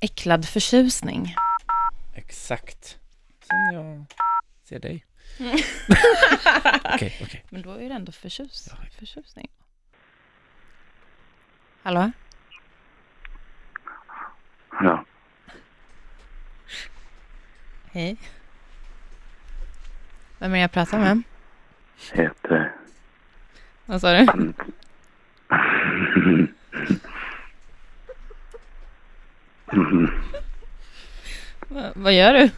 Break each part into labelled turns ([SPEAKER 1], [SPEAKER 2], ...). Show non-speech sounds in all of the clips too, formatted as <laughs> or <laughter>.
[SPEAKER 1] äcklad förtjusning.
[SPEAKER 2] Exakt. Som jag ser dig. <laughs> Okej, okej.
[SPEAKER 1] Men då är det ändå förtjus förtjusning. Hallå?
[SPEAKER 3] Ja.
[SPEAKER 1] Hej. Vem är det jag pratar med?
[SPEAKER 3] Heter...
[SPEAKER 1] Vad sa du? Va, vad gör du?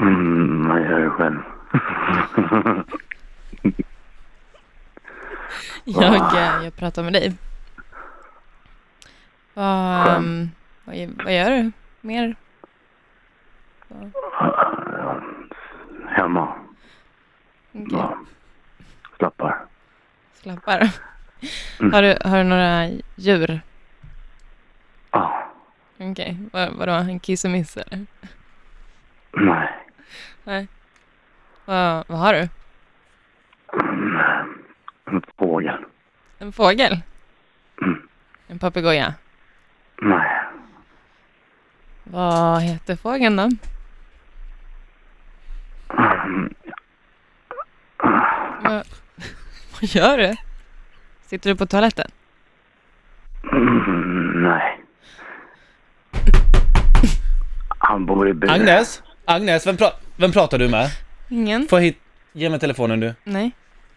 [SPEAKER 3] Mm, jag gör det själv.
[SPEAKER 1] Jag, eh, jag pratar med dig. Vad, ehm, vad, gö- vad gör du mer?
[SPEAKER 3] Hemma.
[SPEAKER 1] Okej,
[SPEAKER 3] Ja. Slappar.
[SPEAKER 1] Slappar. Har du, har du några djur?
[SPEAKER 3] Ja.
[SPEAKER 1] Okej, vad, vadå? En kissemiss eller?
[SPEAKER 3] Nej.
[SPEAKER 1] Nej. Vad, vad har du?
[SPEAKER 3] Mm. En fågel.
[SPEAKER 1] En fågel? En papegoja?
[SPEAKER 3] Nej.
[SPEAKER 1] Vad heter fågeln då? Vad, vad gör du? Sitter du på toaletten?
[SPEAKER 3] Mm, nej. Han bor i byn.
[SPEAKER 2] Agnes? Agnes, vem, pra vem pratar du med?
[SPEAKER 1] Ingen?
[SPEAKER 2] Får jag hit... Ge mig telefonen du.
[SPEAKER 1] Nej.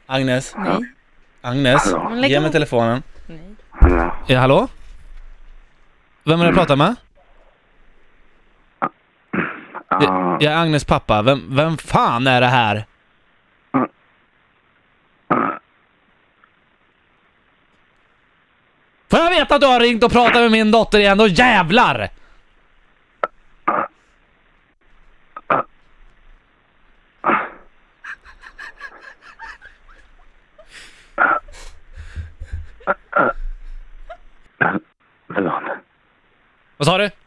[SPEAKER 2] Agnes?
[SPEAKER 1] Nej.
[SPEAKER 2] Agnes?
[SPEAKER 3] Hallå?
[SPEAKER 1] Men lägg
[SPEAKER 2] Ge mig
[SPEAKER 1] av.
[SPEAKER 2] telefonen.
[SPEAKER 1] Nej.
[SPEAKER 3] Ja.
[SPEAKER 2] Ja, hallå? Vem är det jag pratar med?
[SPEAKER 3] Ja.
[SPEAKER 2] Jag är Agnes pappa. Vem, vem fan är det här? Får jag veta att du har ringt och pratat med min dotter igen, då jävlar!
[SPEAKER 3] Förlåt.
[SPEAKER 2] Vad sa du?